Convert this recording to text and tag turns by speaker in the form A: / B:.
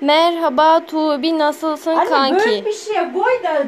A: Merhaba Tuğbi nasılsın
B: Anne
A: kanki?
B: böyle bir şeye koy da